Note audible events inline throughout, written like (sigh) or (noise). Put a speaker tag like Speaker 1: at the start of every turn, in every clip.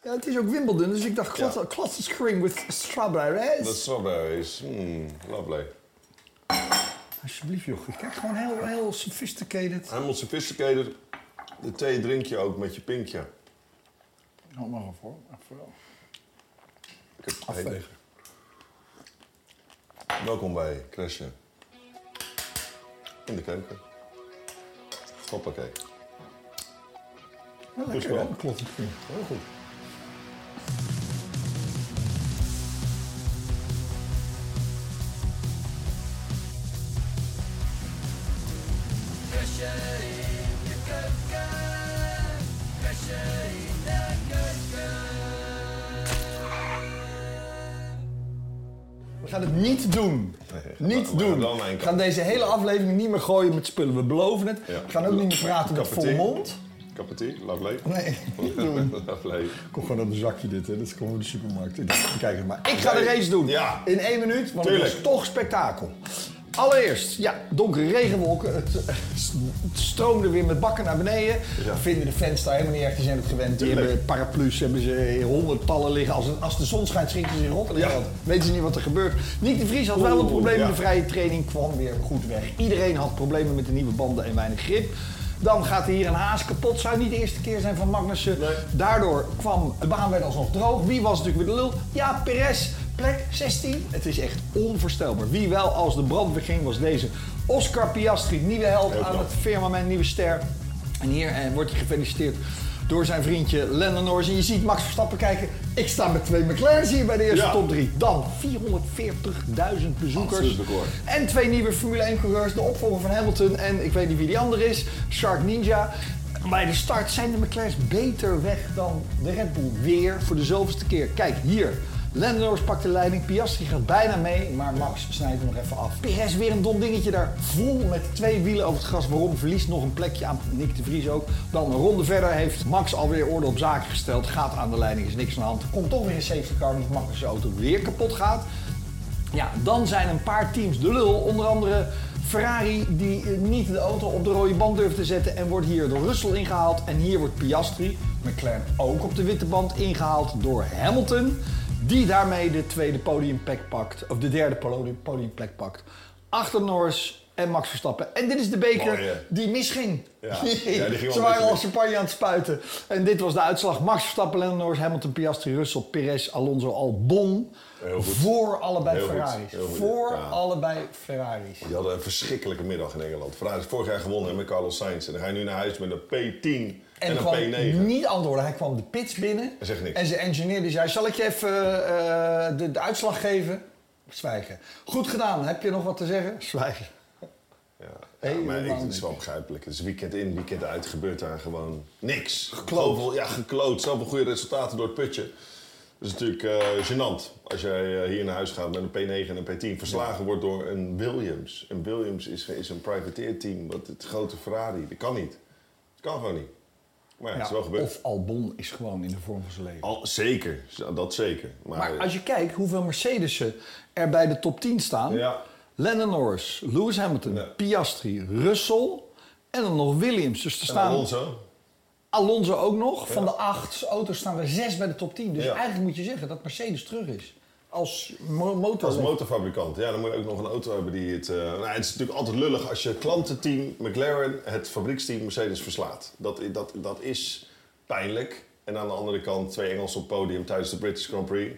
Speaker 1: het is ook Wimbledon, dus ik dacht
Speaker 2: Ja.
Speaker 1: klot- klotse spring with strawberries.
Speaker 2: The strawberries. Mm, lovely.
Speaker 1: Alsjeblieft, joh. Ik kijk gewoon heel, heel sophisticated.
Speaker 2: Helemaal sophisticated. De thee drink je ook met je pinkje.
Speaker 1: Nou, maar voor. Vooral.
Speaker 2: Ik heb het
Speaker 1: Afvegen.
Speaker 2: tegen. Welkom bij Crashen. In de keuken. Hoppakee.
Speaker 1: Ja,
Speaker 2: Goed
Speaker 1: lekker,
Speaker 2: gedaan.
Speaker 1: hè? Klopt. Heel goed. We gaan het niet doen.
Speaker 2: Nee,
Speaker 1: Niet
Speaker 2: we- we
Speaker 1: doen.
Speaker 2: gaan wel mijn
Speaker 1: We gaan
Speaker 2: kant.
Speaker 1: deze hele aflevering niet meer gooien met spullen. We beloven het.
Speaker 2: Ja.
Speaker 1: We gaan ook niet meer praten met vol
Speaker 2: Kappetie.
Speaker 1: mond.
Speaker 2: Kapatie, lovely. (laughs)
Speaker 1: Nee, niet doen.
Speaker 2: lovely.
Speaker 1: Kom gewoon aan de zakje dit, hè. Dat is gewoon de supermarkt. Ik, kijk het maar. Ik ga de race doen.
Speaker 2: Ja.
Speaker 1: In één minuut, want
Speaker 2: Tuurlijk.
Speaker 1: het is toch spektakel. Allereerst, ja, donkere regenwolken. Het, eh, s- het stroomde weer met bakken naar beneden.
Speaker 2: Ja.
Speaker 1: Vinden de fans daar helemaal niet echt. Die zijn het gewend. Die
Speaker 2: Tuurlijk.
Speaker 1: hebben paraplu's, hebben ze in honderdtallen liggen. Als, een- als de zon schijnt, schieten ze in rot.
Speaker 2: Ja.
Speaker 1: Ja. Weten ze niet wat er gebeurt. Nick de Vries had wel een
Speaker 2: Oeh,
Speaker 1: probleem
Speaker 2: ja.
Speaker 1: in de vrije training. Kwam weer goed weg. Iedereen had problemen met de nieuwe banden en weinig grip. Dan gaat hier een haas kapot. Zou niet de eerste keer zijn van Magnussen.
Speaker 2: Nee.
Speaker 1: Daardoor kwam de baan werd alsnog droog. Wie was natuurlijk weer de lul? Ja, Perez, plek 16. Het is echt onvoorstelbaar. Wie wel als de brand weer ging was deze Oscar Piastri, nieuwe held
Speaker 2: Heel
Speaker 1: aan
Speaker 2: knap.
Speaker 1: het firmament, nieuwe ster. En hier eh, wordt hij gefeliciteerd door zijn vriendje Lennon Norris. En je ziet Max Verstappen kijken. Ik sta met twee McLaren's hier bij de eerste
Speaker 2: Ja.
Speaker 1: top 3. Dan 440.000 bezoekers.
Speaker 2: Absoluut record.
Speaker 1: En twee nieuwe Formule 1 coureurs, de opvolger van Hamilton en ik weet niet wie die ander is, Shark Ninja. Bij de start zijn de McLaren's beter weg dan de Red Bull. Weer voor de zoveelste keer. Kijk hier. Lando Norris pakt de leiding, Piastri gaat bijna mee, maar Max snijdt hem nog even af. Perez weer een dom dingetje daar, vol met twee wielen over het gras. Waarom verliest nog een plekje aan Nick de Vries ook. Dan een ronde verder heeft Max alweer orde op zaken gesteld. Gaat aan de leiding, is niks aan de hand. Komt toch weer een safety car omdat Max zijn auto weer kapot gaat. Ja, dan zijn een paar teams de lul. Onder andere Ferrari, die eh, niet de auto op de rode band durft te zetten. En wordt hier door Russell ingehaald. En hier wordt Piastri, McLaren, ook op de witte band ingehaald door Hamilton. Die daarmee de tweede podiumplek pakt. Of de derde podium- podiumplek pakt. Achter Norris en Max Verstappen. En dit is de beker
Speaker 2: Mooi, hè?
Speaker 1: die misging. (laughs)
Speaker 2: Ja. Ja, die ging wel een
Speaker 1: Ze
Speaker 2: beetje
Speaker 1: waren al
Speaker 2: mis.
Speaker 1: champagne aan het spuiten. En dit was de uitslag. Max Verstappen, Lando Norris, Hamilton, Piastri, Russell, Perez, Alonso, Albon.
Speaker 2: Heel goed.
Speaker 1: Voor allebei
Speaker 2: Heel goed,
Speaker 1: Ferraris.
Speaker 2: heel goed,
Speaker 1: Voor
Speaker 2: ja.
Speaker 1: allebei Ferraris.
Speaker 2: Die hadden een verschrikkelijke middag in Engeland. Ferrari is vorig jaar gewonnen hè, met Carlos Sainz. En dan ga je nu naar huis met een P10 en,
Speaker 1: En,
Speaker 2: een
Speaker 1: kwam
Speaker 2: P9.
Speaker 1: niet antwoorden. Hij kwam de pits binnen.
Speaker 2: Hij zegt niks.
Speaker 1: En zijn engineer die zei, zal ik je even eh, de, de uitslag geven? Zwijgen. Goed gedaan. Heb je nog wat te zeggen? Zwijgen.
Speaker 2: Ja,
Speaker 1: Hey,
Speaker 2: ja, maar ik,
Speaker 1: helemaal
Speaker 2: het is
Speaker 1: niet.
Speaker 2: wel begrijpelijk. Het is weekend in, weekend uit, gebeurt daar gewoon niks.
Speaker 1: Gekloot.
Speaker 2: Zoveel- ja, gekloot. Zoveel goede resultaten door het putje. Dat is natuurlijk eh gênant als jij eh, hier naar huis gaat met een P9 en een P10. Verslagen wordt door een Williams. Een Williams is, is een privateerteam. Wat het grote Ferrari. Dat kan niet. Dat kan gewoon niet. Maar ja, het is wel gebeurd. Ah,
Speaker 1: of Albon is gewoon in de vorm van zijn leven.
Speaker 2: Al, zeker. Ja, Dat zeker. Maar,
Speaker 1: Maar als je kijkt hoeveel Mercedes'en er bij de top 10 staan.
Speaker 2: Ja.
Speaker 1: Lennon Norris, Lewis Hamilton,
Speaker 2: Ja.
Speaker 1: Piastri, Russell en dan nog Williams. Dus er
Speaker 2: en
Speaker 1: staan
Speaker 2: Alonso.
Speaker 1: Alonso ook nog. Van de acht auto's staan er zes bij de top 10. Dus
Speaker 2: Ja.
Speaker 1: eigenlijk moet je zeggen dat Mercedes terug is. Als mo- motor.
Speaker 2: Als motorfabrikant, ja, dan moet je ook nog een auto hebben die het... eh, nou, het is natuurlijk altijd lullig als je klantenteam McLaren het fabrieksteam Mercedes verslaat. Dat, i- dat, dat is pijnlijk. En aan de andere kant twee Engelsen op het podium tijdens de British Grand Prix.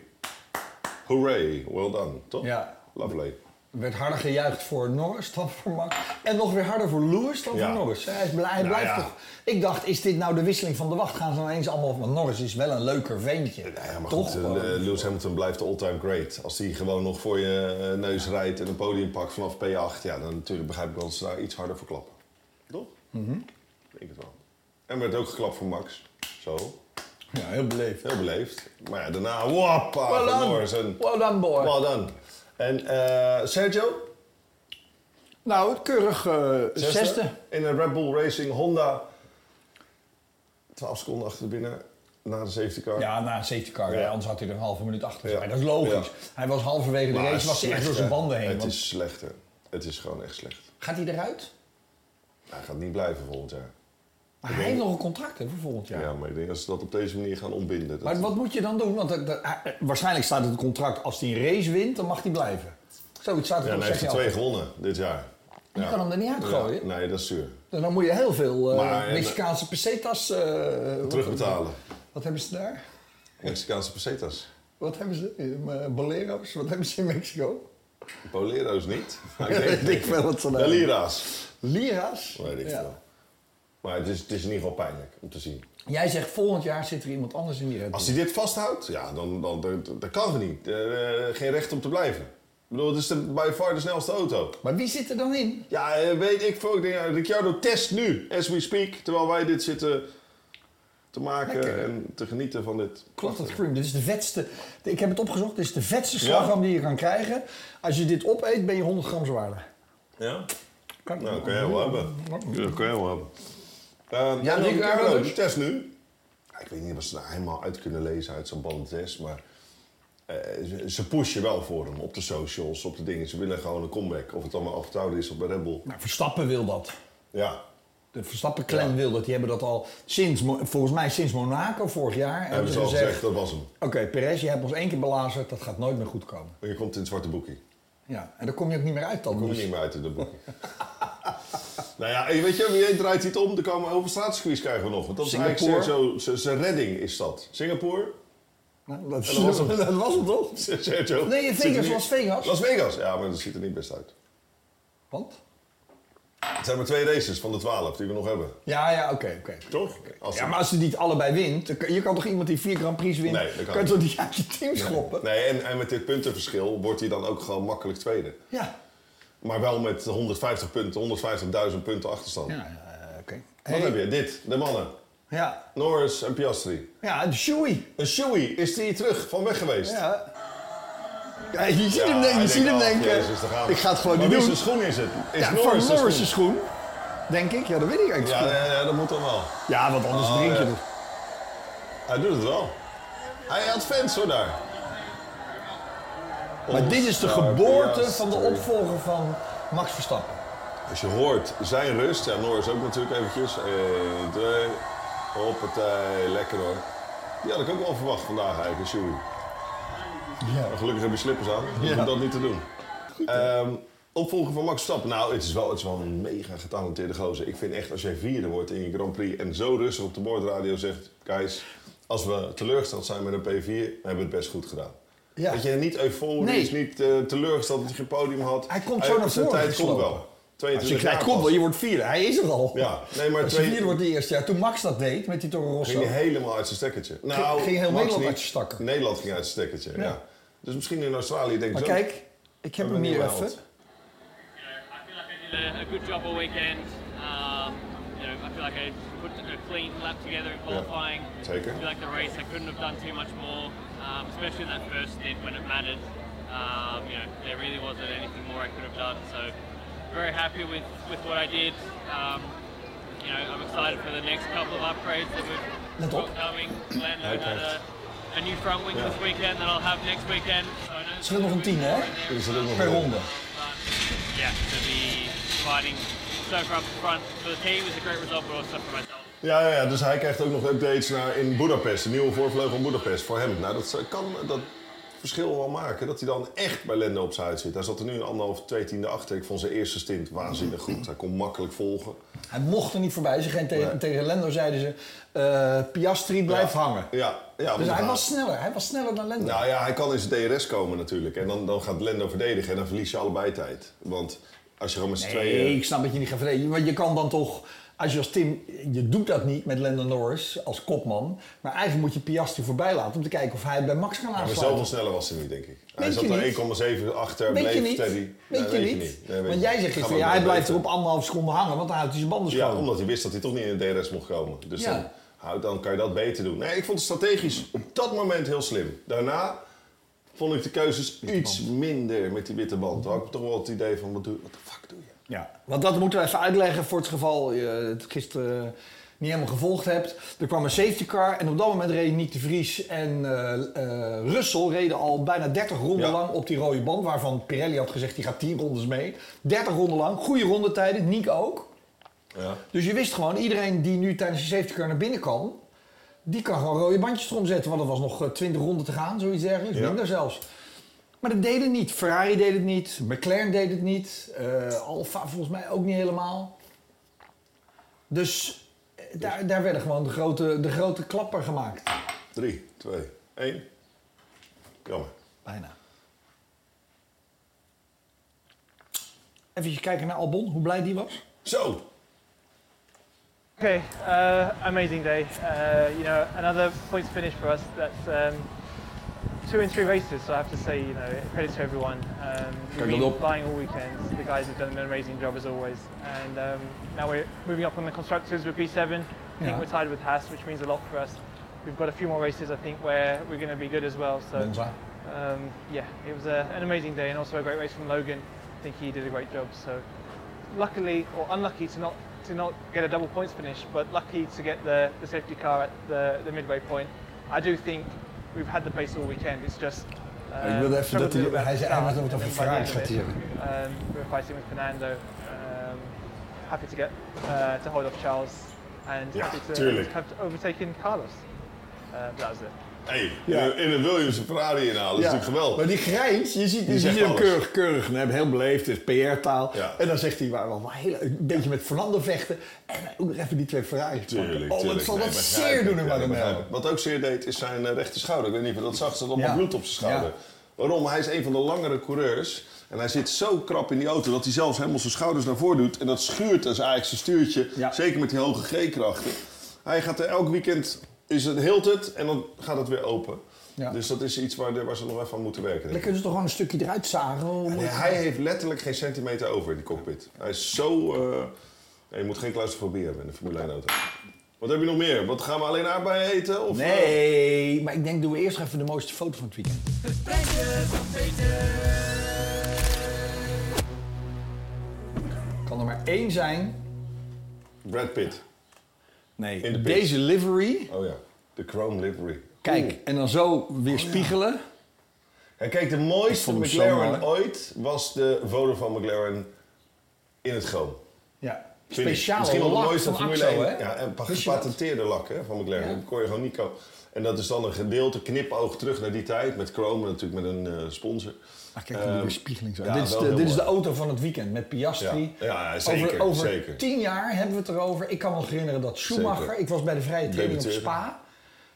Speaker 2: Hooray, well done, toch?
Speaker 1: Ja.
Speaker 2: Lovely.
Speaker 1: werd harder gejuicht voor Norris dan voor Max. En nog weer harder voor Lewis dan
Speaker 2: Ja.
Speaker 1: voor Norris. Hij, is blij- hij
Speaker 2: Nou
Speaker 1: blijft
Speaker 2: ja.
Speaker 1: toch... Ik dacht, is dit nou de wisseling van de wacht? Gaan ze ineens allemaal... Want Norris is wel een leuker ventje.
Speaker 2: Ja, maar
Speaker 1: toch?
Speaker 2: goed, eh,
Speaker 1: gewoon.
Speaker 2: Lewis Hamilton blijft de all-time great. Als hij gewoon nog voor je eh, neus rijdt en een podium pakt vanaf P8... ja, dan natuurlijk begrijp ik wel dat ze daar iets harder voor klappen. Toch? Mhm. Ik denk het wel. En werd ook geklapt voor Max. Zo.
Speaker 1: ja, heel beleefd.
Speaker 2: Heel beleefd. Maar ja, daarna, wappa,
Speaker 1: Well
Speaker 2: Ah, van
Speaker 1: done.
Speaker 2: Norris en...
Speaker 1: Well done, boy.
Speaker 2: Well done. En eh, Sergio,
Speaker 1: Nou, keurig eh, zesde.
Speaker 2: zesde, in een Red Bull Racing Honda. 12 seconden achter de binnen, na de safety car.
Speaker 1: Ja, na een safety car.
Speaker 2: Ja.
Speaker 1: hè, Anders had hij er een halve minuut achter
Speaker 2: Ja.
Speaker 1: gezeten. Dat is logisch.
Speaker 2: Ja.
Speaker 1: Hij was halverwege de
Speaker 2: Maar
Speaker 1: race, was hij echt
Speaker 2: slecht,
Speaker 1: door zijn
Speaker 2: hè.
Speaker 1: banden heen.
Speaker 2: Het
Speaker 1: want-
Speaker 2: is slecht, hè. Het is gewoon echt slecht.
Speaker 1: Gaat hij eruit?
Speaker 2: Hij gaat niet blijven volgend jaar.
Speaker 1: Maar hij heeft nog een contract hè, voor volgend jaar.
Speaker 2: Ja, maar ik denk als ze dat op deze manier gaan ontbinden. dat-
Speaker 1: Maar wat moet je dan doen? Want dat- dat- hij- waarschijnlijk staat in het contract, als hij een race wint, dan mag hij blijven. Zoiets staat er
Speaker 2: ja,
Speaker 1: op
Speaker 2: hij heeft er
Speaker 1: zich
Speaker 2: twee gewonnen dit jaar.
Speaker 1: Je
Speaker 2: Ja.
Speaker 1: kan hem er niet uitgooien.
Speaker 2: Ja, nee, dat is zuur.
Speaker 1: En Dan moet je heel veel eh,
Speaker 2: Maar, eh,
Speaker 1: Mexicaanse pesetas... eh, wat-
Speaker 2: Terugbetalen.
Speaker 1: Wat hebben ze daar?
Speaker 2: Mexicaanse pesetas.
Speaker 1: Wat hebben ze? Eh, Boleros? Wat hebben ze in Mexico?
Speaker 2: Bolero's
Speaker 1: (laughs)
Speaker 2: niet. Maar
Speaker 1: Ik denk wel wat ze
Speaker 2: De
Speaker 1: daar-
Speaker 2: Lira's.
Speaker 1: Lira's?
Speaker 2: Weet ik
Speaker 1: Ja.
Speaker 2: veel. Maar het is, het is in ieder geval pijnlijk om te zien.
Speaker 1: Jij zegt volgend jaar zit er iemand anders in die Red Bull.
Speaker 2: Als hij dit vasthoudt, ja, dan, dan, dan, dan kan het niet. Eh, eh, geen recht om te blijven. Ik bedoel, het is de, by far de snelste auto.
Speaker 1: Maar wie zit er dan in?
Speaker 2: Ja, eh, weet ik veel. Ik denk, ja, Ricciardo test nu, as we speak. Terwijl wij dit zitten te maken
Speaker 1: Lekker, hè?
Speaker 2: en te genieten van dit.
Speaker 1: Klopt dat cream? Dit is de vetste. Ik heb het opgezocht. Dit is de vetste
Speaker 2: Ja?
Speaker 1: slagroom die je kan krijgen. Als je dit opeet, ben je 100 gram zwaarder.
Speaker 2: Ja?
Speaker 1: Kan
Speaker 2: Nou, dat kan jij wel hebben. Ja, dat kan jij wel hebben. Eh,
Speaker 1: Ja,
Speaker 2: en dan
Speaker 1: Ricciardo
Speaker 2: Ricciardo,
Speaker 1: dus.
Speaker 2: test nu. Ja, ik weet niet of ze nou helemaal uit kunnen lezen uit zo'n bandentest, maar... eh, ze- ze pushen wel voor hem op de socials, op de dingen. Ze willen gewoon een comeback. Of het allemaal overtrouwd is op bij Red Bull.
Speaker 1: Nou, Verstappen wil dat.
Speaker 2: Ja,
Speaker 1: De Verstappen clan wil dat. Die hebben dat al sinds, Mo- volgens mij sinds Monaco vorig jaar.
Speaker 2: hebben ze al gezegd, dat was hem.
Speaker 1: Oké, Perez, je hebt ons één keer belazerd. Dat gaat nooit meer goed komen.
Speaker 2: Je komt in het zwarte boekje.
Speaker 1: Ja, en daar kom je ook niet meer uit dan.
Speaker 2: Kom je
Speaker 1: Dus.
Speaker 2: niet meer uit in dat
Speaker 1: (laughs)
Speaker 2: boekje. nou ja, en weet je, wie draait dit om? Er komen over straatcircuits krijgen we nog. Want dat is
Speaker 1: Singapore.
Speaker 2: eigenlijk Sergio- zijn- zijn redding is dat. Singapore? (laughs)
Speaker 1: Nou, dat,
Speaker 2: dat
Speaker 1: (laughs)
Speaker 2: was hem.
Speaker 1: dat was hem toch?
Speaker 2: Sergio.
Speaker 1: Nee, in
Speaker 2: zit er
Speaker 1: Vegas,
Speaker 2: niet-
Speaker 1: Las Vegas.
Speaker 2: Las Vegas, ja, maar dat ziet er niet best uit.
Speaker 1: Want?
Speaker 2: Het zijn maar twee races van de twaalf die we nog hebben.
Speaker 1: Ja, ja, oké, oké.
Speaker 2: Toch? Als
Speaker 1: Ja,
Speaker 2: het-
Speaker 1: maar als je niet allebei wint, dan kan- je kan toch iemand die vier Grand Prix wint,
Speaker 2: Nee, dat kan
Speaker 1: kan je
Speaker 2: niet.
Speaker 1: toch niet uit je team schoppen?
Speaker 2: Nee, en, en met dit puntenverschil wordt hij dan ook gewoon makkelijk tweede.
Speaker 1: Ja.
Speaker 2: Maar wel met 150 punten, 150.000 punten achterstand.
Speaker 1: Ja, eh, oké.
Speaker 2: Wat
Speaker 1: Hey,
Speaker 2: heb je? Dit, de mannen.
Speaker 1: Ja,
Speaker 2: Norris en Piastri.
Speaker 1: ja, de Shoei.
Speaker 2: Een Shoei, is die terug van weg geweest?
Speaker 1: Ja. Ja, je ziet hem denken,
Speaker 2: hij
Speaker 1: je ziet hem
Speaker 2: denkt, "Ah,
Speaker 1: denken.
Speaker 2: Jezus, daar gaan we."
Speaker 1: ik ga het gewoon
Speaker 2: Maar
Speaker 1: niet
Speaker 2: wie
Speaker 1: doen.
Speaker 2: zijn schoen is het? Is
Speaker 1: Ja,
Speaker 2: Norris
Speaker 1: van
Speaker 2: zijn
Speaker 1: Norris'
Speaker 2: schoen?
Speaker 1: schoen. Denk ik, ja, dat weet ik eigenlijk.
Speaker 2: Ja,
Speaker 1: Ja,
Speaker 2: ja, ja, dat moet dan wel.
Speaker 1: ja want anders
Speaker 2: Oh,
Speaker 1: drink je
Speaker 2: ja.
Speaker 1: het.
Speaker 2: Hij doet het wel. Hij had fans hoor daar.
Speaker 1: Maar dit is de
Speaker 2: Ontstaan,
Speaker 1: geboorte
Speaker 2: Piastri.
Speaker 1: van de opvolger van Max Verstappen.
Speaker 2: Als je hoort zijn rust, ja, Norris ook natuurlijk eventjes. 1, 2, hoppatee, lekker hoor. Die had ik ook wel verwacht vandaag eigenlijk, een Shoei.
Speaker 1: Ja.
Speaker 2: Maar gelukkig heb je slippers aan, dus
Speaker 1: Ja.
Speaker 2: je moet dat niet te doen. Ehm opvolger van Max Verstappen. Nou, het is, wel, het is wel een mega getalenteerde gozer. Ik vind echt, als jij vierde wordt in je Grand Prix en zo rustig op de boordradio zegt... Guys, als we teleurgesteld zijn met een P4, hebben we het best goed gedaan.
Speaker 1: Ja.
Speaker 2: Dat je niet euforisch,
Speaker 1: Nee.
Speaker 2: niet eh, teleurgesteld dat je geen podium had.
Speaker 1: Hij komt zo naar
Speaker 2: zijn
Speaker 1: voren
Speaker 2: tijd komt
Speaker 1: geslopen.
Speaker 2: wel.
Speaker 1: Als je
Speaker 2: 22
Speaker 1: krijgt,
Speaker 2: jaar
Speaker 1: komt
Speaker 2: pas.
Speaker 1: wel, je wordt vierde. Hij is er al.
Speaker 2: Ja, nee, maar
Speaker 1: Als je
Speaker 2: twee-
Speaker 1: vierde wordt de eerste jaar. Toen Max dat deed met die Toro Rosso.
Speaker 2: Ging hij helemaal uit zijn stekkertje. Nou,
Speaker 1: ging heel
Speaker 2: Max
Speaker 1: Nederland
Speaker 2: niet.
Speaker 1: uit zijn stakker.
Speaker 2: Nederland ging uit zijn stekkertje, ja.
Speaker 1: Ja.
Speaker 2: Dus misschien in Australië denk ik
Speaker 1: Maar
Speaker 2: zo,
Speaker 1: kijk, ik heb
Speaker 2: hebben
Speaker 1: hem
Speaker 2: we een
Speaker 1: hier
Speaker 2: nieuwe
Speaker 1: even.
Speaker 2: held.
Speaker 3: You know, I feel like I did a, a good job all weekend. Um, you know, I feel like I put a clean lap together in qualifying.
Speaker 2: Taker.
Speaker 3: I feel like the race I couldn't have done too much more, um, especially in that first stint when it mattered. Um, you know, there really wasn't anything more I could have done. So very happy with, with what I did. Um, you know, I'm excited for the next couple of upgrades that we've
Speaker 1: Let
Speaker 3: got
Speaker 1: op.
Speaker 3: going. Lando
Speaker 2: Okay.
Speaker 3: had a, a new front wing
Speaker 2: Yeah.
Speaker 3: this weekend that I'll have next weekend. So I know
Speaker 1: Ze willen nog een tien, hè?
Speaker 2: Dit is er ook nog
Speaker 1: Per
Speaker 2: wel.
Speaker 1: ronde.
Speaker 3: but yeah, to be fighting so far up front for the team is a great result, but also for myself.
Speaker 2: Ja, ja, ja, dus hij krijgt ook nog updates naar in Budapest, de nieuwe voorvleugel van Budapest voor hem. Nou, dat kan dat verschil wel maken, dat hij dan echt bij Lendo op zijn huid zit. Hij zat er nu een anderhalf, twee tiende achter. Ik vond zijn eerste stint waanzinnig goed. Hij kon makkelijk volgen.
Speaker 1: Hij mocht er niet voorbij. Ze gingen tegen,
Speaker 2: Nee.
Speaker 1: tegen Lendo zeiden ze, eh, Piastri blijft
Speaker 2: Ja.
Speaker 1: hangen.
Speaker 2: Ja, ja.
Speaker 1: Dus
Speaker 2: want
Speaker 1: hij was sneller. Hij was sneller dan Lendo.
Speaker 2: Nou ja, hij kan in zijn DRS komen natuurlijk. En dan, dan gaat Lendo verdedigen en dan verlies je allebei tijd. Want als je gewoon met z'n
Speaker 1: nee,
Speaker 2: tweeën...
Speaker 1: ik snap dat je niet gaat verdedigen. Want je kan dan toch, als je als Tim, je doet dat niet met Lando Norris als kopman. Maar eigenlijk moet je Piastri voorbij laten om te kijken of hij bij Max kan
Speaker 2: Maar
Speaker 1: aansluiten.
Speaker 2: zoveel sneller was hij niet, denk ik. Hij
Speaker 1: Weet
Speaker 2: zat
Speaker 1: je
Speaker 2: er
Speaker 1: niet?
Speaker 2: 1,7 achter,
Speaker 1: Weet je
Speaker 2: bleef
Speaker 1: niet?
Speaker 2: steady.
Speaker 1: Weet
Speaker 2: Nee,
Speaker 1: je niet?
Speaker 2: Nee, weet
Speaker 1: Want jij
Speaker 2: je niet.
Speaker 1: zegt
Speaker 2: Gaan
Speaker 1: gisteren,
Speaker 2: we
Speaker 1: ja, hij
Speaker 2: nooit
Speaker 1: blijft er
Speaker 2: weten.
Speaker 1: op anderhalf seconde hangen, want dan houdt hij zijn banden schoon.
Speaker 2: Ja, omdat hij wist dat hij toch niet in de DRS mocht komen. Dus
Speaker 1: Ja.
Speaker 2: dan, hou- dan kan je dat beter doen. Nee, ik vond het strategisch op dat moment heel slim. Daarna vond ik de keuzes iets minder met die witte band. Toen had ik toch wel het idee van, wat, doe, wat de fuck doe je?
Speaker 1: Ja, want dat moeten we even uitleggen voor het geval je het gisteren niet helemaal gevolgd hebt. Er kwam een safety car en op dat moment reden Nick de Vries en eh eh Russell reden al bijna 30 ronden
Speaker 2: Ja.
Speaker 1: lang op die rode band. Waarvan Pirelli had gezegd, die gaat 10 rondes mee. 30 ronden lang, goede rondetijden, Nick ook.
Speaker 2: Ja.
Speaker 1: Dus je wist gewoon, iedereen die nu tijdens de safety car naar binnen kan, die kan gewoon rode bandjes erom zetten. Want er was nog eh, 20 ronden te gaan, zoiets dergelijks.
Speaker 2: Ja.
Speaker 1: Minder zelfs. Maar dat deden niet. Ferrari deed het niet. McLaren deed het niet. eh Alfa volgens mij ook niet helemaal. Dus eh, daar, daar werden gewoon de grote, de grote klapper gemaakt.
Speaker 2: 3, 2, 1. Jammer.
Speaker 1: Bijna. Even kijken naar Albon, hoe blij die was.
Speaker 2: Zo!
Speaker 4: Okay, uh, amazing day. Uh, you know, another points finish for us. That's um, two in three races, so I have to say, you know, credit to everyone. Um,
Speaker 2: Good
Speaker 4: we've been
Speaker 2: job.
Speaker 4: flying all weekends. The guys have done an amazing job as always. And um, now we're moving up on the constructors with P7. I
Speaker 1: Yeah.
Speaker 4: think we're tied with Haas, which means a lot for us. We've got a few more races, I think, where we're going to be good as well. So,
Speaker 1: Bonza.
Speaker 4: um, yeah, it was a, an amazing day and also a great race from Logan. I think he did a great job. So, luckily or unlucky to not to not get a double points finish, but lucky to get the, the safety car at the, the midway point. I do think we've had the pace all weekend. It's just. Uh,
Speaker 1: Ik wilde even dat
Speaker 4: struggled a
Speaker 1: hij,
Speaker 4: little bit
Speaker 1: hij
Speaker 4: at the
Speaker 1: zei, hij
Speaker 4: start,
Speaker 1: moet het over
Speaker 4: and by
Speaker 1: Ferrari
Speaker 4: the end of
Speaker 1: gaat
Speaker 4: it,
Speaker 1: hij hebben.
Speaker 4: um, we were fighting with Fernando. Um, happy to get uh, to hold off Charles and
Speaker 2: Yeah,
Speaker 4: happy to
Speaker 2: truly.
Speaker 4: have overtaken Carlos. Uh, that was it.
Speaker 2: Hey,
Speaker 1: Ja.
Speaker 2: in- in een Williams een Ferrari inhalen, dat is natuurlijk geweldig.
Speaker 1: Maar die grijns, je ziet, je
Speaker 2: Die
Speaker 1: ziet
Speaker 2: zegt
Speaker 1: hem
Speaker 2: alles.
Speaker 1: keurig, keurig. En hij heeft heel beleefd, het is PR-taal.
Speaker 2: Ja.
Speaker 1: En dan zegt hij, waar wel een hele- een beetje met Fernando vechten. En dan ook nog even die twee Ferraris pakken.
Speaker 2: Tuurlijk,
Speaker 1: oh,
Speaker 2: tuurlijk.
Speaker 1: dat zal
Speaker 2: Nee,
Speaker 1: dat
Speaker 2: begrijp
Speaker 1: zeer
Speaker 2: ik.
Speaker 1: doen in
Speaker 2: Ja, dat begrijp
Speaker 1: Maranello.
Speaker 2: ik. Wat ook zeer deed, is zijn eh, rechter schouder. Ik weet niet of je dat zag, er zat allemaal
Speaker 1: Ja.
Speaker 2: bloed op zijn schouder.
Speaker 1: Ja.
Speaker 2: Waarom? Hij is een van de langere coureurs. En hij zit zo krap in die auto dat hij zelfs helemaal zijn schouders naar voren doet. En dat schuurt als eigenlijk zijn stuurtje.
Speaker 1: Ja.
Speaker 2: Zeker met die hoge G-krachten. Hij gaat er elk weekend, is het, hield het en dan gaat het weer open.
Speaker 1: Ja.
Speaker 2: Dus dat is iets waar, de- waar ze nog even aan moeten werken. denk
Speaker 1: Dan
Speaker 2: ik.
Speaker 1: kunnen ze toch gewoon een stukje eruit zagen. Hoe moet-
Speaker 2: Nee, hij heeft letterlijk geen centimeter over in die cockpit. Hij is zo... eh, nee, je moet geen claustrofobie hebben in de Formule 1 auto. Wat heb je nog meer? Wat gaan we alleen aardbeien eten? Of, eh,
Speaker 1: Nee, maar ik denk doen we eerst nog even de mooiste foto van het weekend. Kan er maar één zijn.
Speaker 2: Brad Pitt. In de
Speaker 1: Nee,
Speaker 2: pit.
Speaker 1: deze livery.
Speaker 2: Oh ja, de Chrome livery.
Speaker 1: Kijk, en dan zo weer spiegelen.
Speaker 2: En kijk, de
Speaker 1: Ik
Speaker 2: mooiste
Speaker 1: vond hem zo
Speaker 2: McLaren
Speaker 1: mooi.
Speaker 2: ooit was de Vodafone McLaren in het chroom.
Speaker 1: Ja.
Speaker 2: Vind ik.
Speaker 1: Speciaal
Speaker 2: Misschien wel de
Speaker 1: lak
Speaker 2: mooiste
Speaker 1: van
Speaker 2: Formule
Speaker 1: Axo,
Speaker 2: 1.
Speaker 1: hè?
Speaker 2: Ja, en pa-
Speaker 1: Wist je dat?
Speaker 2: gepatenteerde lak hè, van McLaren.
Speaker 1: Ja.
Speaker 2: Dat kon je gewoon niet kopen. En dat is dan een gedeelte knipoog terug naar die tijd. Met Chrome natuurlijk met een eh, sponsor.
Speaker 1: Ah, kijk, die
Speaker 2: Ehm,
Speaker 1: weerspiegeling zo.
Speaker 2: ja,
Speaker 1: dit is,
Speaker 2: wel
Speaker 1: de,
Speaker 2: heel
Speaker 1: dit is de
Speaker 2: mooi.
Speaker 1: auto van het weekend met Piastri.
Speaker 2: Ja, ja, zeker,
Speaker 1: over over
Speaker 2: zeker.
Speaker 1: tien jaar hebben we het erover. Ik kan me nog herinneren dat Schumacher...
Speaker 2: Zeker.
Speaker 1: Ik was bij de vrije training op
Speaker 2: Debuteerde.
Speaker 1: Spa.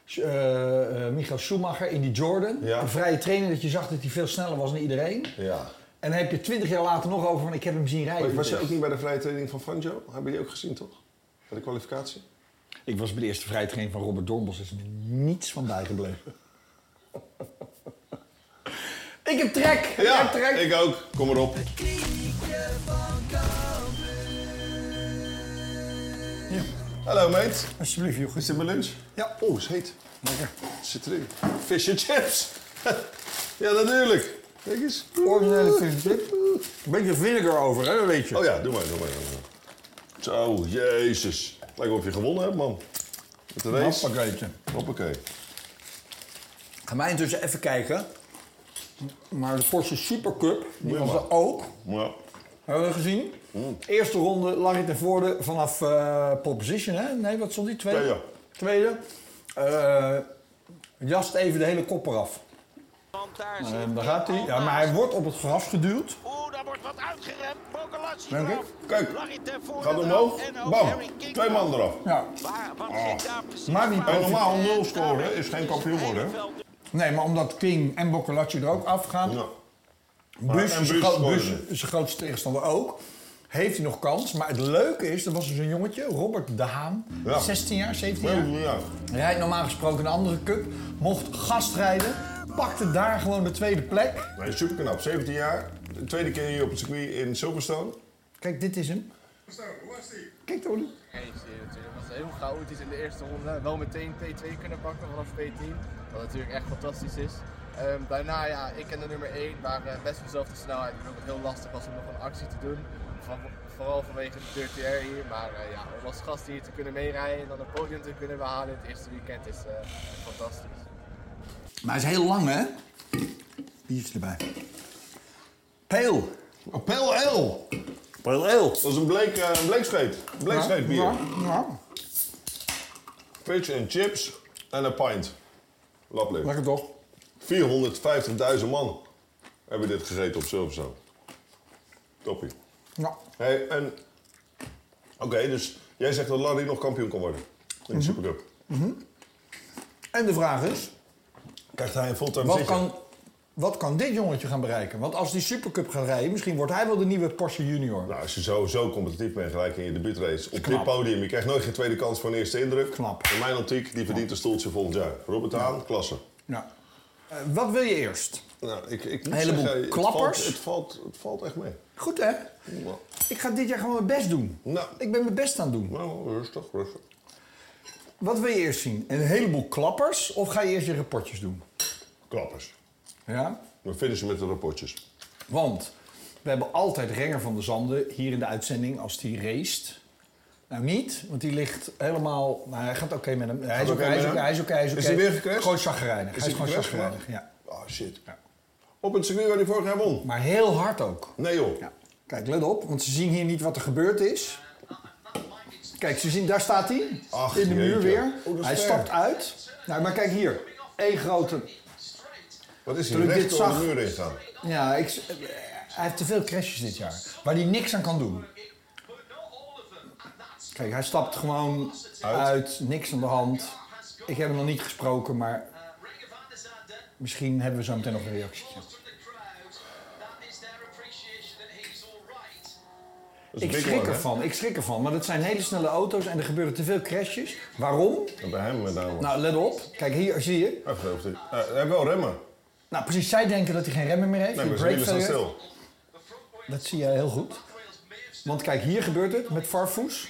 Speaker 1: Sch- eh, eh, Michael Schumacher in die Jordan.
Speaker 2: Ja.
Speaker 1: Een vrije training dat je zag dat hij veel sneller was dan iedereen.
Speaker 2: Ja.
Speaker 1: En dan heb je twintig jaar later nog over van ik heb hem zien rijden. Dus-
Speaker 2: Maar was je ook niet bij de vrije training van Fangio? Hebben jullie ook gezien, toch? Bij de kwalificatie?
Speaker 1: Ik was bij de eerste vrije training van Robert Dornbos. is me niets van bijgebleven. (laughs) ik heb trek! ik heb trek!
Speaker 2: ik ook. Kom maar op. Hallo, mate.
Speaker 1: Alsjeblieft, joh.
Speaker 2: Is dit mijn lunch?
Speaker 1: Ja.
Speaker 2: Oh, is heet.
Speaker 1: Lekker.
Speaker 2: Het zit erin. Fish and chips. (laughs) ja, natuurlijk. Kijk eens.
Speaker 1: Originele fish and chips. Een beetje vinegar over, hè, dat weet je.
Speaker 2: Oh ja, doe maar, doe maar. doe maar. Zo, jezus. Lijkt of je gewonnen hebt, man. Met de race.
Speaker 1: Hoppakeetje.
Speaker 2: Hoppakee.
Speaker 1: Ga mij intussen even kijken. Maar de Porsche Supercup, die
Speaker 2: je
Speaker 1: was
Speaker 2: maar.
Speaker 1: er ook.
Speaker 2: Ja.
Speaker 1: Hebben we gezien. Eerste ronde lag ik ten voorde vanaf eh pole position, hè? Nee, wat stond die? Tweede?
Speaker 2: Tweede.
Speaker 1: Tweede. Eh, jast even de hele kop eraf.
Speaker 5: Want daar zit
Speaker 2: eh,
Speaker 1: En daar gaat
Speaker 5: Oh,
Speaker 1: hij. Ja, maar hij wordt op het gras geduwd.
Speaker 5: Oeh, daar wordt wat uitgeremd. Bocalassi
Speaker 1: Dank u.
Speaker 5: eraf.
Speaker 2: Kijk.
Speaker 5: Lag hij ten voorde
Speaker 2: Gaat
Speaker 5: eraf.
Speaker 2: omhoog.
Speaker 5: En ook
Speaker 2: Bam.
Speaker 5: Harry King
Speaker 2: Twee man eraf.
Speaker 1: Ja.
Speaker 5: Waar, wat
Speaker 2: Ah.
Speaker 5: zit daar precies?
Speaker 1: Maar die
Speaker 5: fout?
Speaker 1: En normaal
Speaker 2: nul scoren is
Speaker 5: dus
Speaker 2: geen kampioen worden, hè?
Speaker 1: Nee, maar omdat King en Boccolacci er ook afgaan,
Speaker 2: Ja.
Speaker 1: Bus,
Speaker 2: en
Speaker 1: zijn,
Speaker 2: Bus
Speaker 1: groot-
Speaker 2: scoorde
Speaker 1: Bus,
Speaker 2: er.
Speaker 1: zijn grootste tegenstander ook. Heeft hij nog kans? Maar het leuke is, er was dus een jongetje, Robert de Haan,
Speaker 2: Ja.
Speaker 1: 16 jaar, 17
Speaker 2: Ja.
Speaker 1: jaar. Rijdt normaal gesproken een andere cup, mocht gastrijden, pakte daar gewoon de tweede plek.
Speaker 2: Nee, super knap. 17 jaar. De tweede keer hier op het circuit in Silverstone.
Speaker 1: Kijk, dit is hem. Kijk, Tony.
Speaker 6: Eens natuurlijk. Het was heel chaotisch in de eerste ronde. Wel meteen P2 kunnen pakken vanaf P10. Wat natuurlijk echt fantastisch is. Ehm, daarna, ja, ik en de nummer 1 waren eh, best op dezelfde snelheid. Waardoor het heel lastig was om nog een actie te doen. Van- vooral vanwege de DTR hier. Maar eh, ja, om als gast hier te kunnen meerijden en dan een podium te kunnen behalen in het eerste weekend is eh, fantastisch.
Speaker 1: Maar hij is heel lang, hè? Biertje erbij. Peel.
Speaker 2: Appel L.
Speaker 7: Pale ale.
Speaker 2: Dat is een bleek, eh, een bleekscheet. Een bleekscheet bier.
Speaker 1: Ja, ja.
Speaker 2: Fish en chips en een pint. Laplip.
Speaker 1: Lekker toch?
Speaker 2: 450.000 man hebben dit gegeten op Silverstone. Toppie.
Speaker 1: Ja.
Speaker 2: Hey, en... Oké, dus jij zegt dat Larry nog kampioen kan worden. In
Speaker 1: Mhm.
Speaker 2: de Supercup.
Speaker 1: En de vraag is,
Speaker 2: Krijgt hij een fulltime
Speaker 1: wat
Speaker 2: zitje?
Speaker 1: kan, wat kan dit jongetje gaan bereiken? Want als die Supercup gaat rijden, misschien wordt hij wel de nieuwe Porsche Junior.
Speaker 2: Nou, als je zo, zo competitief bent gelijk in je debuutrace op dit
Speaker 1: knap.
Speaker 2: podium. Je krijgt nooit geen tweede kans voor een eerste indruk.
Speaker 1: Knap.
Speaker 2: In mijn optiek, die verdient een stoeltje volgend jaar. Robert Haan, klasse.
Speaker 1: Ja. Eh, wat wil je eerst?
Speaker 2: Nou, ik, ik moet
Speaker 1: Een heleboel
Speaker 2: zeggen, het
Speaker 1: klappers.
Speaker 2: valt- Het valt, het valt echt mee.
Speaker 1: Goed hè? Ik ga dit jaar gewoon mijn best doen.
Speaker 2: Nou.
Speaker 1: Ik ben mijn best aan het doen.
Speaker 2: Nou, rustig, rustig.
Speaker 1: Wat wil je eerst zien? Een heleboel klappers of ga je eerst je rapportjes doen?
Speaker 2: Klappers.
Speaker 1: Ja?
Speaker 2: We finishen met de rapportjes.
Speaker 1: Want we hebben altijd Renger van de Zanden hier in de uitzending als die raced. Nou niet, want die ligt helemaal... Nou, hij gaat oké met hem. Hij is
Speaker 2: Gaat
Speaker 1: oké,
Speaker 2: oké
Speaker 1: hij is
Speaker 2: met
Speaker 1: oké,
Speaker 2: hem?
Speaker 1: hij is oké. hij
Speaker 2: Is
Speaker 1: oké.
Speaker 2: hij weer gecrashed?
Speaker 1: Gewoon chagrijnig. Hij
Speaker 2: hij
Speaker 1: is gewoon
Speaker 2: gecrashed,
Speaker 1: chagrijnig,
Speaker 2: maar?
Speaker 1: ja.
Speaker 2: Oh shit.
Speaker 1: Ja.
Speaker 2: Op het circuit waar hij vorig jaar won.
Speaker 1: Maar heel hard ook.
Speaker 2: Nee joh.
Speaker 1: Ja. Kijk, let op, want ze zien hier niet wat er gebeurd is. Kijk, ze zien, daar staat hij.
Speaker 2: Ach,
Speaker 1: in de muur
Speaker 2: jeetje.
Speaker 1: weer.
Speaker 2: Oh, dat is
Speaker 1: hij
Speaker 2: ver.
Speaker 1: stapt uit. Nou, maar kijk hier. Eén grote...
Speaker 2: Wat is
Speaker 1: Toen
Speaker 2: hij
Speaker 1: ik
Speaker 2: recht
Speaker 1: dit
Speaker 2: door
Speaker 1: zag-
Speaker 2: de muur heen gaan?
Speaker 1: Ja, ik, eh, hij heeft te veel crashes dit jaar. Waar hij niks aan kan doen. Kijk, hij stapt gewoon uit. Niks aan de hand. Ik heb hem nog niet gesproken, maar misschien hebben we zo meteen nog een reactie.
Speaker 2: Dat is een
Speaker 1: Ik
Speaker 2: big
Speaker 1: schrik
Speaker 2: one, hè?
Speaker 1: ervan, ik schrik ervan. Maar dat zijn hele snelle auto's en er gebeuren te veel crashes. Waarom?
Speaker 2: En Bij hem met name.
Speaker 1: Nou, let op. Kijk, hier zie je.
Speaker 2: Hij gelooft het. Eh, Hij heeft wel remmen.
Speaker 1: Nou, precies. Zij denken dat hij geen remmen meer heeft.
Speaker 2: Nee,
Speaker 1: die
Speaker 2: maar zijn
Speaker 1: brake
Speaker 2: wielen staan
Speaker 1: failure.
Speaker 2: stil.
Speaker 1: Dat zie jij heel goed. Want kijk, hier gebeurt het met Farfoes.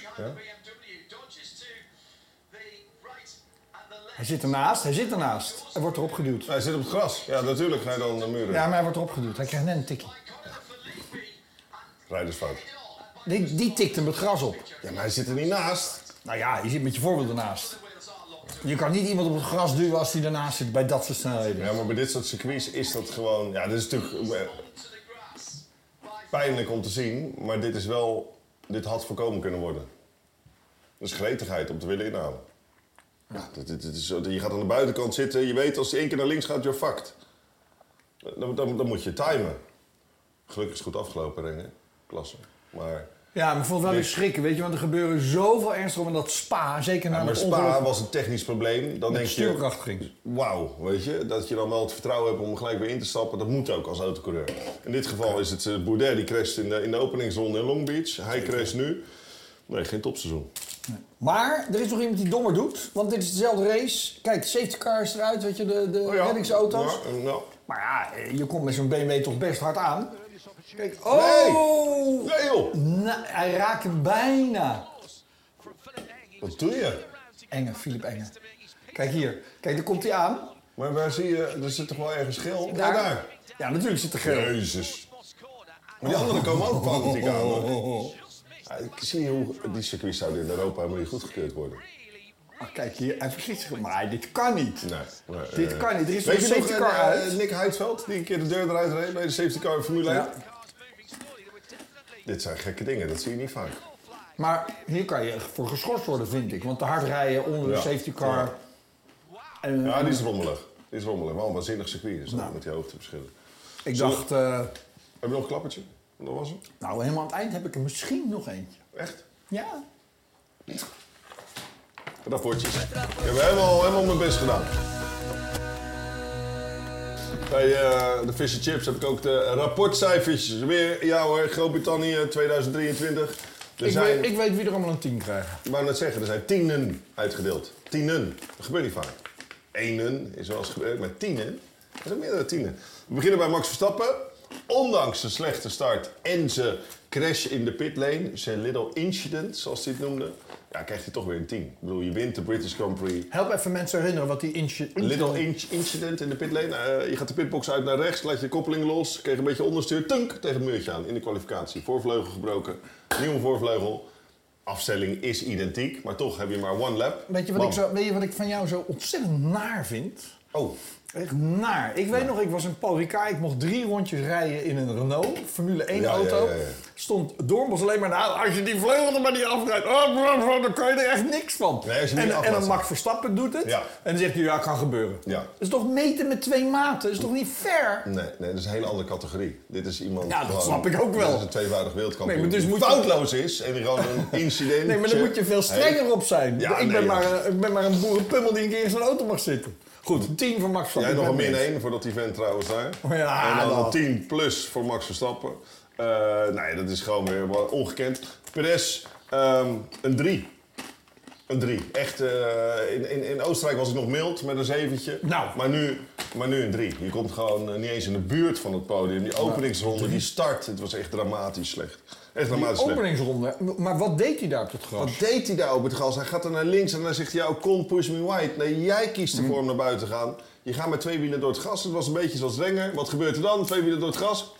Speaker 1: Hij zit ernaast, hij zit ernaast. Hij wordt erop geduwd.
Speaker 2: Hij zit op het gras. Ja, natuurlijk ga je dan de muren.
Speaker 1: Ja,
Speaker 2: Ja.
Speaker 1: maar hij wordt erop geduwd. Hij krijgt net een tikkie.
Speaker 2: Rijdersfout.
Speaker 1: Die, die tikt hem het gras op.
Speaker 2: Ja, maar hij zit er niet naast.
Speaker 1: Nou ja, je zit met je voorbeeld ernaast. Je kan niet iemand op het gras duwen als die ernaast zit bij dat soort snelheden.
Speaker 2: Ja, maar bij dit soort circuits is dat gewoon... Ja, dit is natuurlijk eh, pijnlijk om te zien. Maar dit is wel... Dit had voorkomen kunnen worden. Dus gretigheid om te willen inhalen. Ja, dit, dit, dit is, zo- je gaat aan de buitenkant zitten. Je weet als hij één keer naar links gaat, you're fucked. Dan, dan, dan moet je timen. Gelukkig is het goed afgelopen, Renger. Klasse. Maar...
Speaker 1: Ja, maar ik vond het wel weer
Speaker 2: Nee.
Speaker 1: schrikken, weet je. Want er gebeuren zoveel ernstige dingen. Dat spa, zeker na
Speaker 2: Ja, maar
Speaker 1: dat
Speaker 2: Spa
Speaker 1: ongeluk
Speaker 2: was een technisch probleem. Dan
Speaker 1: met
Speaker 2: denk
Speaker 1: de
Speaker 2: je,
Speaker 1: stuurkracht ging.
Speaker 2: wauw, weet je. Dat je dan wel het vertrouwen hebt om er gelijk weer in te stappen. Dat moet ook als autocoureur. In dit geval is het eh, Boudet, die crasht in de, in de openingsronde in Long Beach. Hij crasht nu. Nee, geen topseizoen.
Speaker 1: Maar er is nog iemand die dommer doet, want dit is dezelfde race. Kijk, safety car is eruit, weet je, de, de
Speaker 2: Oh ja.
Speaker 1: reddingsauto's.
Speaker 2: Ja, eh, nou.
Speaker 1: Maar ja, eh, je komt met zo'n BMW toch best hard aan. Kijk,
Speaker 2: Nee!
Speaker 1: oh!
Speaker 2: Nee joh,
Speaker 1: Nou, hij raakt hem bijna.
Speaker 2: wat doe je?
Speaker 1: Enge, Filip Enge. Kijk hier, kijk, daar komt hij aan.
Speaker 2: Maar waar zie je, er zit toch wel ergens geel? Daar.
Speaker 1: Daar.
Speaker 2: daar.
Speaker 1: Ja, natuurlijk zit er geel. (laughs)
Speaker 2: Jezus. Maar die anderen komen (laughs) ook fanatiek aan hoor. Ja, ik zie hoe die circuits zouden in Europa helemaal niet goedgekeurd worden.
Speaker 1: Ah, kijk hier, hij vergist zich. Maar dit kan niet.
Speaker 2: Nee, maar,
Speaker 1: Dit
Speaker 2: eh,
Speaker 1: kan niet. Er is
Speaker 2: weet
Speaker 1: nog
Speaker 2: je
Speaker 1: een safety
Speaker 2: nog,
Speaker 1: car
Speaker 2: eh,
Speaker 1: uit.
Speaker 2: Nick Heidveld, die een keer de deur eruit reed bij de safety car in Formule 1.
Speaker 1: Ja.
Speaker 2: Dit zijn gekke dingen, dat zie je niet vaak.
Speaker 1: Maar hier kan je voor geschorst worden, vind ik. Want te hard rijden onder de
Speaker 2: Ja.
Speaker 1: safety car.
Speaker 2: Ja.
Speaker 1: En,
Speaker 2: Ja, die is rommelig. Die is rommelig. Wel een waanzinnig circuit is dat,
Speaker 1: Nou.
Speaker 2: met die hoogteverschillen.
Speaker 1: ik
Speaker 2: Zullen-
Speaker 1: dacht, eh,
Speaker 2: Heb je nog een klappertje? Dat was het.
Speaker 1: nou, helemaal aan het eind heb ik er misschien nog eentje.
Speaker 2: Echt?
Speaker 1: Ja.
Speaker 2: Rapportjes. Ik heb helemaal, helemaal mijn best gedaan. Bij eh, de Fish and Chips heb ik ook de rapportcijfers. Weer jou hoor, Groot-Brittannië 2023. Er
Speaker 1: Ik,
Speaker 2: zijn-
Speaker 1: weet, ik weet wie er allemaal een 10 krijgen.
Speaker 2: Ik wou net zeggen, er zijn tienen uitgedeeld. Tienen. Dat gebeurt niet vaak. Enen is wel eens gebeurd, maar tienen? Er zijn meerdere tienen. We beginnen bij Max Verstappen. Ondanks de slechte start en zijn crash in de pitlane, zijn little incident, zoals hij het noemde, ja, krijgt hij toch weer een 10. Ik bedoel, je wint de British Grand Prix.
Speaker 1: Help even mensen herinneren wat die inch...
Speaker 2: Little inch- incident in de pitlane. Eh, je gaat de pitbox uit naar rechts, laat je koppeling los, kreeg een beetje onderstuur, tunk, tegen het muurtje aan in de kwalificatie. Voorvleugel gebroken, nieuwe voorvleugel. Afstelling is identiek, maar toch heb je maar one lap.
Speaker 1: Weet je, wat
Speaker 2: Bam.
Speaker 1: ik zo, weet je wat ik van jou zo ontzettend naar vind?
Speaker 2: Oh,
Speaker 1: Echt naar. Ik weet nog, ik was in Paul Ricard. Ik mocht drie rondjes rijden in een Renault, Formule 1
Speaker 2: Ja, ja,
Speaker 1: auto.
Speaker 2: ja, ja.
Speaker 1: Stond Doornbos alleen maar na. Als je die vleugel er maar niet afrijdt, oh, bro, bro, dan kan je er echt niks van.
Speaker 2: Nee, als je hem
Speaker 1: en,
Speaker 2: niet af
Speaker 1: en
Speaker 2: laat
Speaker 1: dan
Speaker 2: staan.
Speaker 1: Max Verstappen doet het.
Speaker 2: Ja.
Speaker 1: En dan zegt hij, ja, kan gebeuren.
Speaker 2: Ja.
Speaker 1: Dat is toch meten met twee maten? Dat is toch niet fair?
Speaker 2: Nee, nee, dat is een hele andere categorie. Dit is iemand.
Speaker 1: Ja, dat snap ik ook wel.
Speaker 2: Dat is een tweevoudig wereldkampioen.
Speaker 1: Nee, maar dus
Speaker 2: die
Speaker 1: moet je-
Speaker 2: foutloos is en gewoon een
Speaker 1: (laughs)
Speaker 2: incident. eh,
Speaker 1: Nee, maar dan moet je veel strenger op zijn.
Speaker 2: Ja,
Speaker 1: ik,
Speaker 2: nee,
Speaker 1: ben
Speaker 2: ja.
Speaker 1: maar, een- ik ben maar een boerenpummel die een keer in zo'n auto mag zitten. Goed, tien van Max
Speaker 2: Jij
Speaker 1: Verstappen.
Speaker 2: nog een
Speaker 1: Ik ben
Speaker 2: min
Speaker 1: mee.
Speaker 2: 1 voor dat event trouwens daar.
Speaker 1: Ja,
Speaker 2: en dan
Speaker 1: dat.
Speaker 2: een 10 plus voor Max Verstappen. Eh, nee, dat is gewoon weer wat ongekend. Perez, ehm, een 3. Een 3. Echt, eh, in, in, in Oostenrijk was ik nog mild met een zeventje.
Speaker 1: Nou.
Speaker 2: Maar nu, maar nu een 3. Je komt gewoon eh, niet eens in de buurt van het podium. Die
Speaker 1: Nou.
Speaker 2: openingsronde, die start, het was echt dramatisch slecht. Echt dramatisch slecht.
Speaker 1: Openingsronde. Maar wat deed hij daar op het gras?
Speaker 2: Wat deed hij daar op het gas? Hij gaat er naar links en dan zegt hij, ja, kon push me wide. Nee, jij kiest ervoor om naar buiten te gaan. Je gaat met twee wielen door het gas. Het was een beetje zoals Renger. Wat gebeurt er dan? Twee wielen door het gas.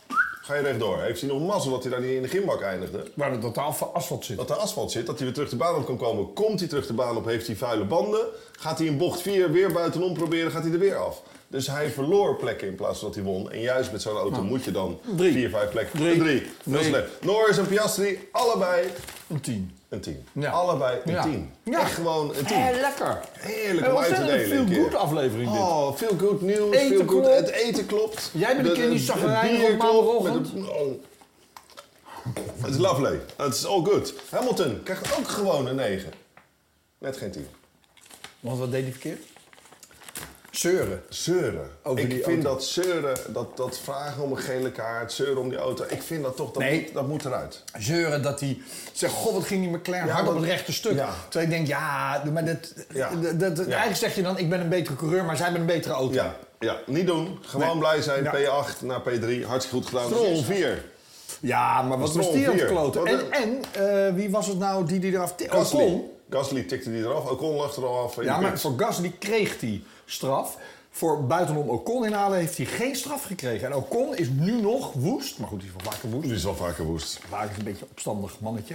Speaker 2: Ga je rechtdoor. Heeft hij nog mazzel dat hij daar niet in de gimbak eindigde?
Speaker 1: Waar het totaal van asfalt zit.
Speaker 2: Dat er asfalt zit, dat hij weer terug de baan op kan komen. Komt hij terug de baan op, heeft hij vuile banden. Gaat hij in bocht 4 weer buitenom proberen, gaat hij er weer af. Dus hij verloor plekken in plaats van dat hij won. En juist met zo'n auto moet je dan
Speaker 1: Drie.
Speaker 2: 4, 5 plekken.
Speaker 1: Drie.
Speaker 2: Een Drie. Heel
Speaker 1: Drie.
Speaker 2: slecht. Norris en Piastri, allebei
Speaker 1: Een tien.
Speaker 2: een 10.
Speaker 1: Ja.
Speaker 2: Allebei een
Speaker 1: Ja.
Speaker 2: 10.
Speaker 1: Ja.
Speaker 2: Echt gewoon een 10.
Speaker 1: Eh, lekker.
Speaker 2: Heerlijk
Speaker 1: Een
Speaker 2: om uit te
Speaker 1: ontzettend
Speaker 2: delen. een
Speaker 1: veel
Speaker 2: keer.
Speaker 1: good aflevering dit.
Speaker 2: Oh, veel good nieuws.
Speaker 1: Eten
Speaker 2: Veel good.
Speaker 1: klopt.
Speaker 2: Het eten klopt.
Speaker 1: Jij bent een
Speaker 2: De-
Speaker 1: keer niet
Speaker 2: het- het
Speaker 1: chagrijnig op
Speaker 2: bier klopt.
Speaker 1: maandagochtend.
Speaker 2: Met de- oh. Het is lovely. Het is all good. Hamilton krijgt ook gewoon een 9. Net geen 10.
Speaker 1: Want wat deed hij verkeerd? Zeuren.
Speaker 2: Zeuren.
Speaker 1: Over
Speaker 2: ik
Speaker 1: die
Speaker 2: vind
Speaker 1: auto.
Speaker 2: dat zeuren, dat, dat vragen om een gele kaart, zeuren om die auto, ik vind dat toch, dat,
Speaker 1: Nee.
Speaker 2: moet, dat moet eruit.
Speaker 1: Zeuren dat hij zegt, god wat ging die McLaren
Speaker 2: Ja,
Speaker 1: hard op
Speaker 2: dat-
Speaker 1: het rechte stuk.
Speaker 2: ja.
Speaker 1: Terwijl ik denk, ja, maar dat,
Speaker 2: Ja.
Speaker 1: dat, dat-
Speaker 2: Ja.
Speaker 1: eigenlijk zeg je dan, ik ben een betere coureur, maar zij hebben een betere auto.
Speaker 2: Ja, ja. niet doen. Gewoon
Speaker 1: Nee.
Speaker 2: blij zijn.
Speaker 1: Ja.
Speaker 2: P8 naar P3. Hartstikke goed gedaan.
Speaker 1: Stroll,
Speaker 2: 4.
Speaker 1: Ja, maar wat
Speaker 2: Stroll
Speaker 1: was die aan het
Speaker 2: vier.
Speaker 1: kloten?
Speaker 2: Wat
Speaker 1: En, en eh, wie was het nou die die eraf... tikte?
Speaker 2: Gasly.
Speaker 1: Ocon.
Speaker 2: Gasly tikte die eraf. Ocon lag er al af. in
Speaker 1: Ja,
Speaker 2: de
Speaker 1: maar
Speaker 2: pits.
Speaker 1: voor Gasly kreeg hij straf. Voor buitenom Ocon inhalen heeft hij geen straf gekregen. En Ocon is nu nog woest. Maar goed, die is wel vaker woest.
Speaker 2: Die is wel vaker woest.
Speaker 1: Waar is een beetje opstandig mannetje.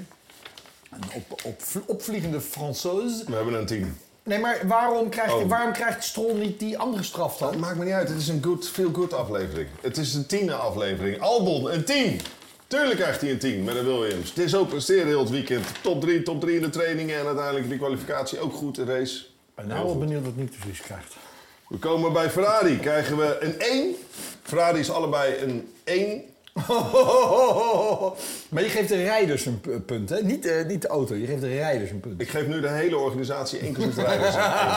Speaker 1: Een op, op, opvliegende Française.
Speaker 2: We hebben een team.
Speaker 1: Nee, maar waarom krijgt,
Speaker 2: Oh.
Speaker 1: waarom krijgt Stroll niet die andere straf dan?
Speaker 2: Maakt me niet uit. Het is een good, feel good aflevering. Het is een tiende aflevering. Albon, een team. Tuurlijk krijgt hij een 10 met een Williams. Het is ook presteren heel het weekend. Top 3, top 3 in de trainingen en uiteindelijk die kwalificatie ook goed in race.
Speaker 1: ben nou wel benieuwd wat Nick de Vries krijgt.
Speaker 2: We komen bij Ferrari. Krijgen we een 1. Ferrari is allebei een 1.
Speaker 1: (laughs) maar je geeft de rijders een pu- punt, hè? Niet, eh, niet de auto, je geeft de rijders een punt.
Speaker 2: Ik geef nu de hele organisatie inclusief de rijders. een één.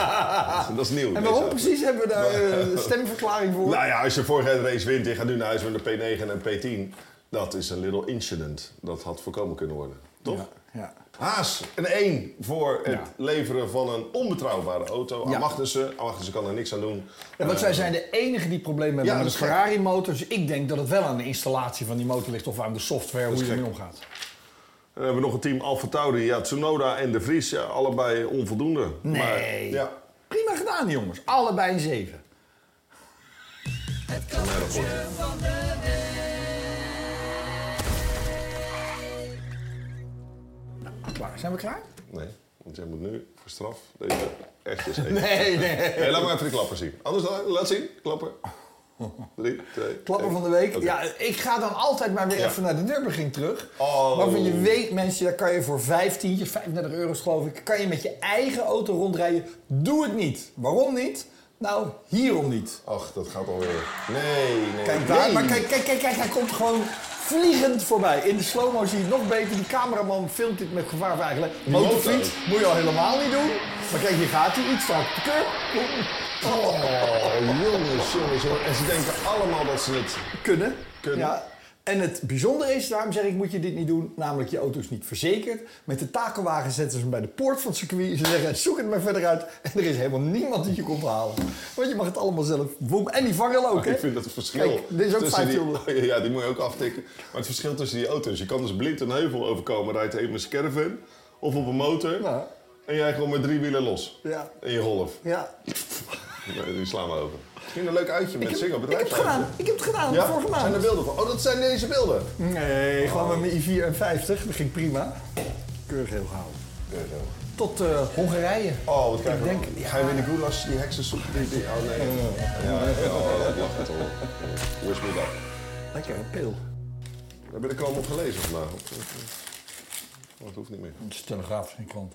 Speaker 2: (laughs) Dat is nieuw.
Speaker 1: En waarom
Speaker 2: deze
Speaker 1: precies hebben we
Speaker 2: (laughs)
Speaker 1: daar eh, stemverklaring voor?
Speaker 2: Nou ja, als je vorige race wint, je gaat nu naar huis met een P9 en een P10. Dat is een little incident. Dat had voorkomen kunnen worden, toch?
Speaker 1: Ja, ja.
Speaker 2: Haas, een 1 voor het
Speaker 1: Ja.
Speaker 2: leveren van een onbetrouwbare auto.
Speaker 1: Ja.
Speaker 2: Ja. Magnussen, Magnussen kan er niks aan doen.
Speaker 1: Ja, want zij zijn de enige die problemen hebben
Speaker 2: Ja,
Speaker 1: met
Speaker 2: dat
Speaker 1: de
Speaker 2: is gek.
Speaker 1: Ferrari-motor. Dus ik denk dat het wel aan de installatie van die motor ligt of aan de software, hoe
Speaker 2: is
Speaker 1: je ermee
Speaker 2: gek.
Speaker 1: omgaat.
Speaker 2: Dan hebben we nog een team Alfa Tauri. Ja, Tsunoda en De Vries, ja, allebei onvoldoende.
Speaker 1: Nee.
Speaker 2: Maar, ja,
Speaker 1: Prima gedaan, jongens. Allebei een 7. Nou, klaar. Zijn we klaar?
Speaker 2: nee. Want jij moet nu voor straf deze
Speaker 1: (laughs)
Speaker 2: echt eens even...
Speaker 1: Nee, nee.
Speaker 2: Hey, laat maar even de klapper zien. Anders, dan- laat zien. Klapper. Drie, twee,
Speaker 1: Klapper
Speaker 2: één.
Speaker 1: van de week.
Speaker 2: Oké.
Speaker 1: Ja, ik ga dan altijd maar weer
Speaker 2: Ja.
Speaker 1: even naar de Nürburgring terug.
Speaker 2: Oh.
Speaker 1: Waarvan je weet, mensen, daar kan je voor 15, 35 euro's geloof ik, kan je met je eigen auto rondrijden. Doe het niet. Waarom niet? Nou, hierom niet.
Speaker 2: Ach, dat gaat alweer. Nee, nee.
Speaker 1: Kijk daar,
Speaker 2: nee.
Speaker 1: maar kijk, kijk, kijk, kijk, hij komt gewoon vliegend voorbij. In de slow-mo zie je het nog beter. Die cameraman filmt dit met gevaar van eigenlijk. Motorfiets
Speaker 2: loopt
Speaker 1: moet je al helemaal niet doen. Maar kijk, hier gaat hij. Iets strak. de curb.
Speaker 2: Oh, jongens, jongens, jongens. En ze denken allemaal dat ze het...
Speaker 1: Kunnen.
Speaker 2: Kunnen.
Speaker 1: Ja. En het bijzondere is, daarom zeg ik, moet je dit niet doen. Namelijk, je auto is niet verzekerd. Met de takelwagen zetten ze hem bij de poort van het circuit. Ze zeggen, zoek het maar verder uit. En er is helemaal niemand die je komt halen. Want je mag het allemaal zelf. Boem. En die vangrail ook, hè?
Speaker 2: Ah, Ik vind dat het verschil...
Speaker 1: Kijk, dit is ook
Speaker 2: tussen die-
Speaker 1: 500.
Speaker 2: Ja, die moet je ook aftikken. Maar het verschil tussen die auto's. Je kan dus blind een heuvel overkomen. Rijdt even met een caravan of op een motor.
Speaker 1: Ja.
Speaker 2: En jij gewoon met drie wielen los.
Speaker 1: Ja.
Speaker 2: In je golf.
Speaker 1: Ja.
Speaker 2: Nee, die slaan we over. Misschien een leuk uitje met
Speaker 1: Ik
Speaker 2: zingen op
Speaker 1: heb,
Speaker 2: het
Speaker 1: ik heb het gedaan. Ik heb het gedaan.
Speaker 2: Ja?
Speaker 1: Vorige maand.
Speaker 2: Zijn er beelden van? Oh, dat zijn deze beelden.
Speaker 1: Oh. Nee, gewoon met mijn i54. Dat ging prima. Keurig heel gehouden.
Speaker 2: Ja, zo.
Speaker 1: tot eh, Hongarije.
Speaker 2: Oh, wat krijgen we
Speaker 1: Ik
Speaker 2: dan?
Speaker 1: denk-
Speaker 2: Ga je weer in de goulash, die heksensoep? Die, die, oh nee. Ja, ja, oh, dat lacht het hoor. Hoe is het dan?
Speaker 1: Oh, Lekker, een pil.
Speaker 2: Heb je er komen op gelezen vandaag? Of- of- oh, Dat hoeft niet meer.
Speaker 7: Het is telegraaf, geen krant.